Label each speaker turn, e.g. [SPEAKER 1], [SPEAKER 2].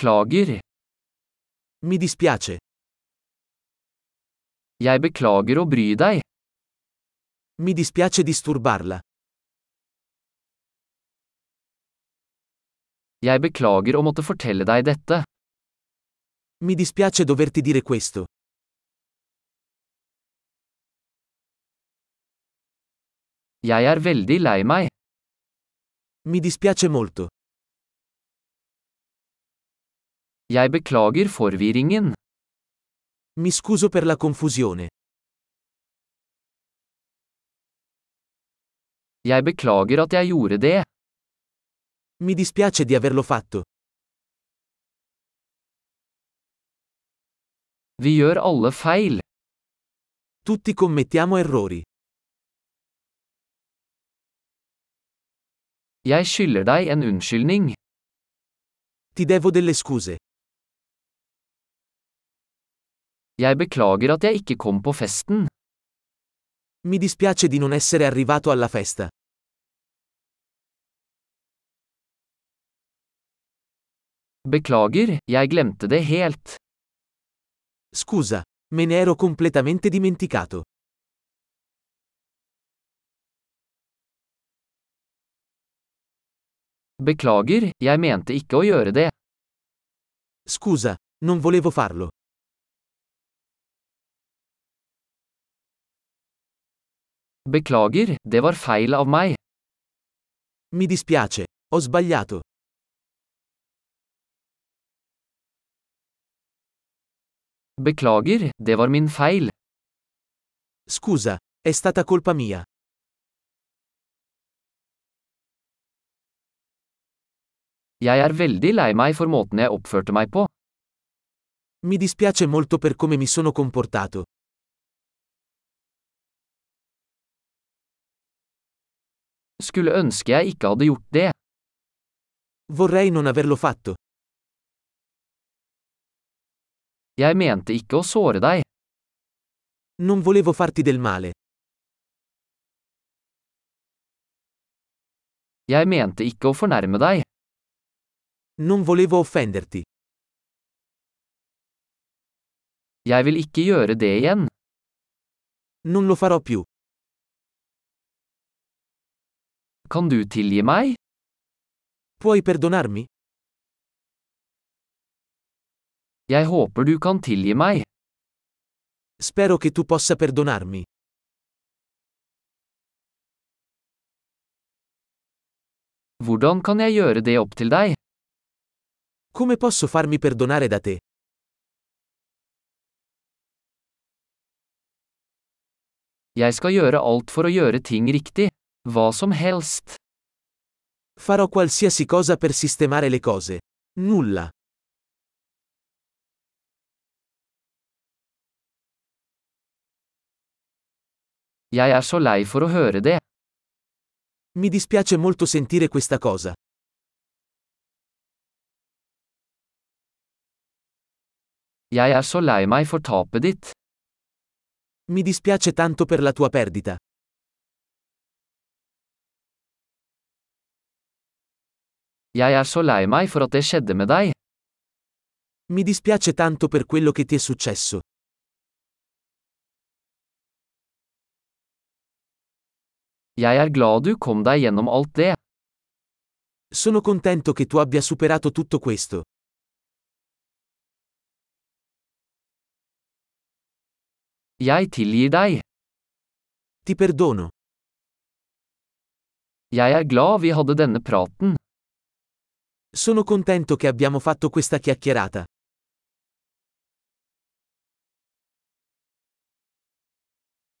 [SPEAKER 1] Beklager.
[SPEAKER 2] Mi dispiace.
[SPEAKER 1] Jeg beklager å bry deg.
[SPEAKER 2] Mi dispiace disturbarla.
[SPEAKER 1] Jeg beklager å måtte fortelle deg dette.
[SPEAKER 2] Mi dispiace doverti dire questo.
[SPEAKER 1] Jeg er veldig lei meg.
[SPEAKER 2] Mi dispiace molto.
[SPEAKER 1] Jeg beklager forvirringen.
[SPEAKER 2] Mi scuso per la confusione.
[SPEAKER 1] Jeg beklager at jeg gjorde det.
[SPEAKER 2] Mi dispiace di averlo fatto.
[SPEAKER 1] Vi gjør alle feil.
[SPEAKER 2] Tutti commettiamo errori.
[SPEAKER 1] Jeg skylder deg en unnskyldning.
[SPEAKER 2] Ti devo delle scuse.
[SPEAKER 1] Jeg beklager at jeg ikke kom på festen.
[SPEAKER 2] Mi dispiace di non essere arrivato alla festa.
[SPEAKER 1] Beklager, jeg glemte det helt.
[SPEAKER 2] Scusa, me ne ero completamente dimenticato.
[SPEAKER 1] Beklager, jeg mente ikke å gjøre det.
[SPEAKER 2] Scusa, non volevo farlo.
[SPEAKER 1] Beklager, det var feil av meg.
[SPEAKER 2] Mi dispiace, ho sbagliato.
[SPEAKER 1] Beklager, det var min feil.
[SPEAKER 2] Scusa, è stata colpa mia.
[SPEAKER 1] Jeg er veldig lei meg for måten jeg oppførte meg på.
[SPEAKER 2] Mi dispiace molto per come mi sono comportato.
[SPEAKER 1] Skulle ønske jeg ikke hadde gjort det.
[SPEAKER 2] Vorrei non averlo fatto.
[SPEAKER 1] Jeg mente ikke å såre deg.
[SPEAKER 2] Non volevo farti del male.
[SPEAKER 1] Jeg mente ikke å fornærme deg.
[SPEAKER 2] Non volevo offenderti.
[SPEAKER 1] Jeg vil ikke gjøre det igjen.
[SPEAKER 2] Non lo farò più.
[SPEAKER 1] Kan du tilgi meg?
[SPEAKER 2] Puoi perdonarmi?
[SPEAKER 1] Jeg håper du kan tilgi meg.
[SPEAKER 2] Spero che tu possa perdonarmi.
[SPEAKER 1] Hvordan kan jeg gjøre det opp til deg?
[SPEAKER 2] Come posso farmi perdonare da te?
[SPEAKER 1] Jeg skal gjøre alt for å gjøre ting riktig. Hva som helst.
[SPEAKER 2] Farò qualsiasi cosa per sistemare le cose. Nulla.
[SPEAKER 1] Jeg er så lei for å høre det.
[SPEAKER 2] Mi dispiace molto sentire questa cosa.
[SPEAKER 1] Jeg er så lei meg for tapet ditt.
[SPEAKER 2] Mi dispiace tanto per la tua perdita.
[SPEAKER 1] Jeg er så lei meg for at det skjedde med deg.
[SPEAKER 2] Mi dispiace tanto per quello che ti è successo.
[SPEAKER 1] Jeg er glad du kom deg gjennom alt det.
[SPEAKER 2] Sono contento che tu abbia superato tutto questo.
[SPEAKER 1] Jeg tilgir deg.
[SPEAKER 2] Ti perdono.
[SPEAKER 1] Jeg er glad vi hadde denne praten.
[SPEAKER 2] Sono contento che abbiamo fatto questa chiacchierata.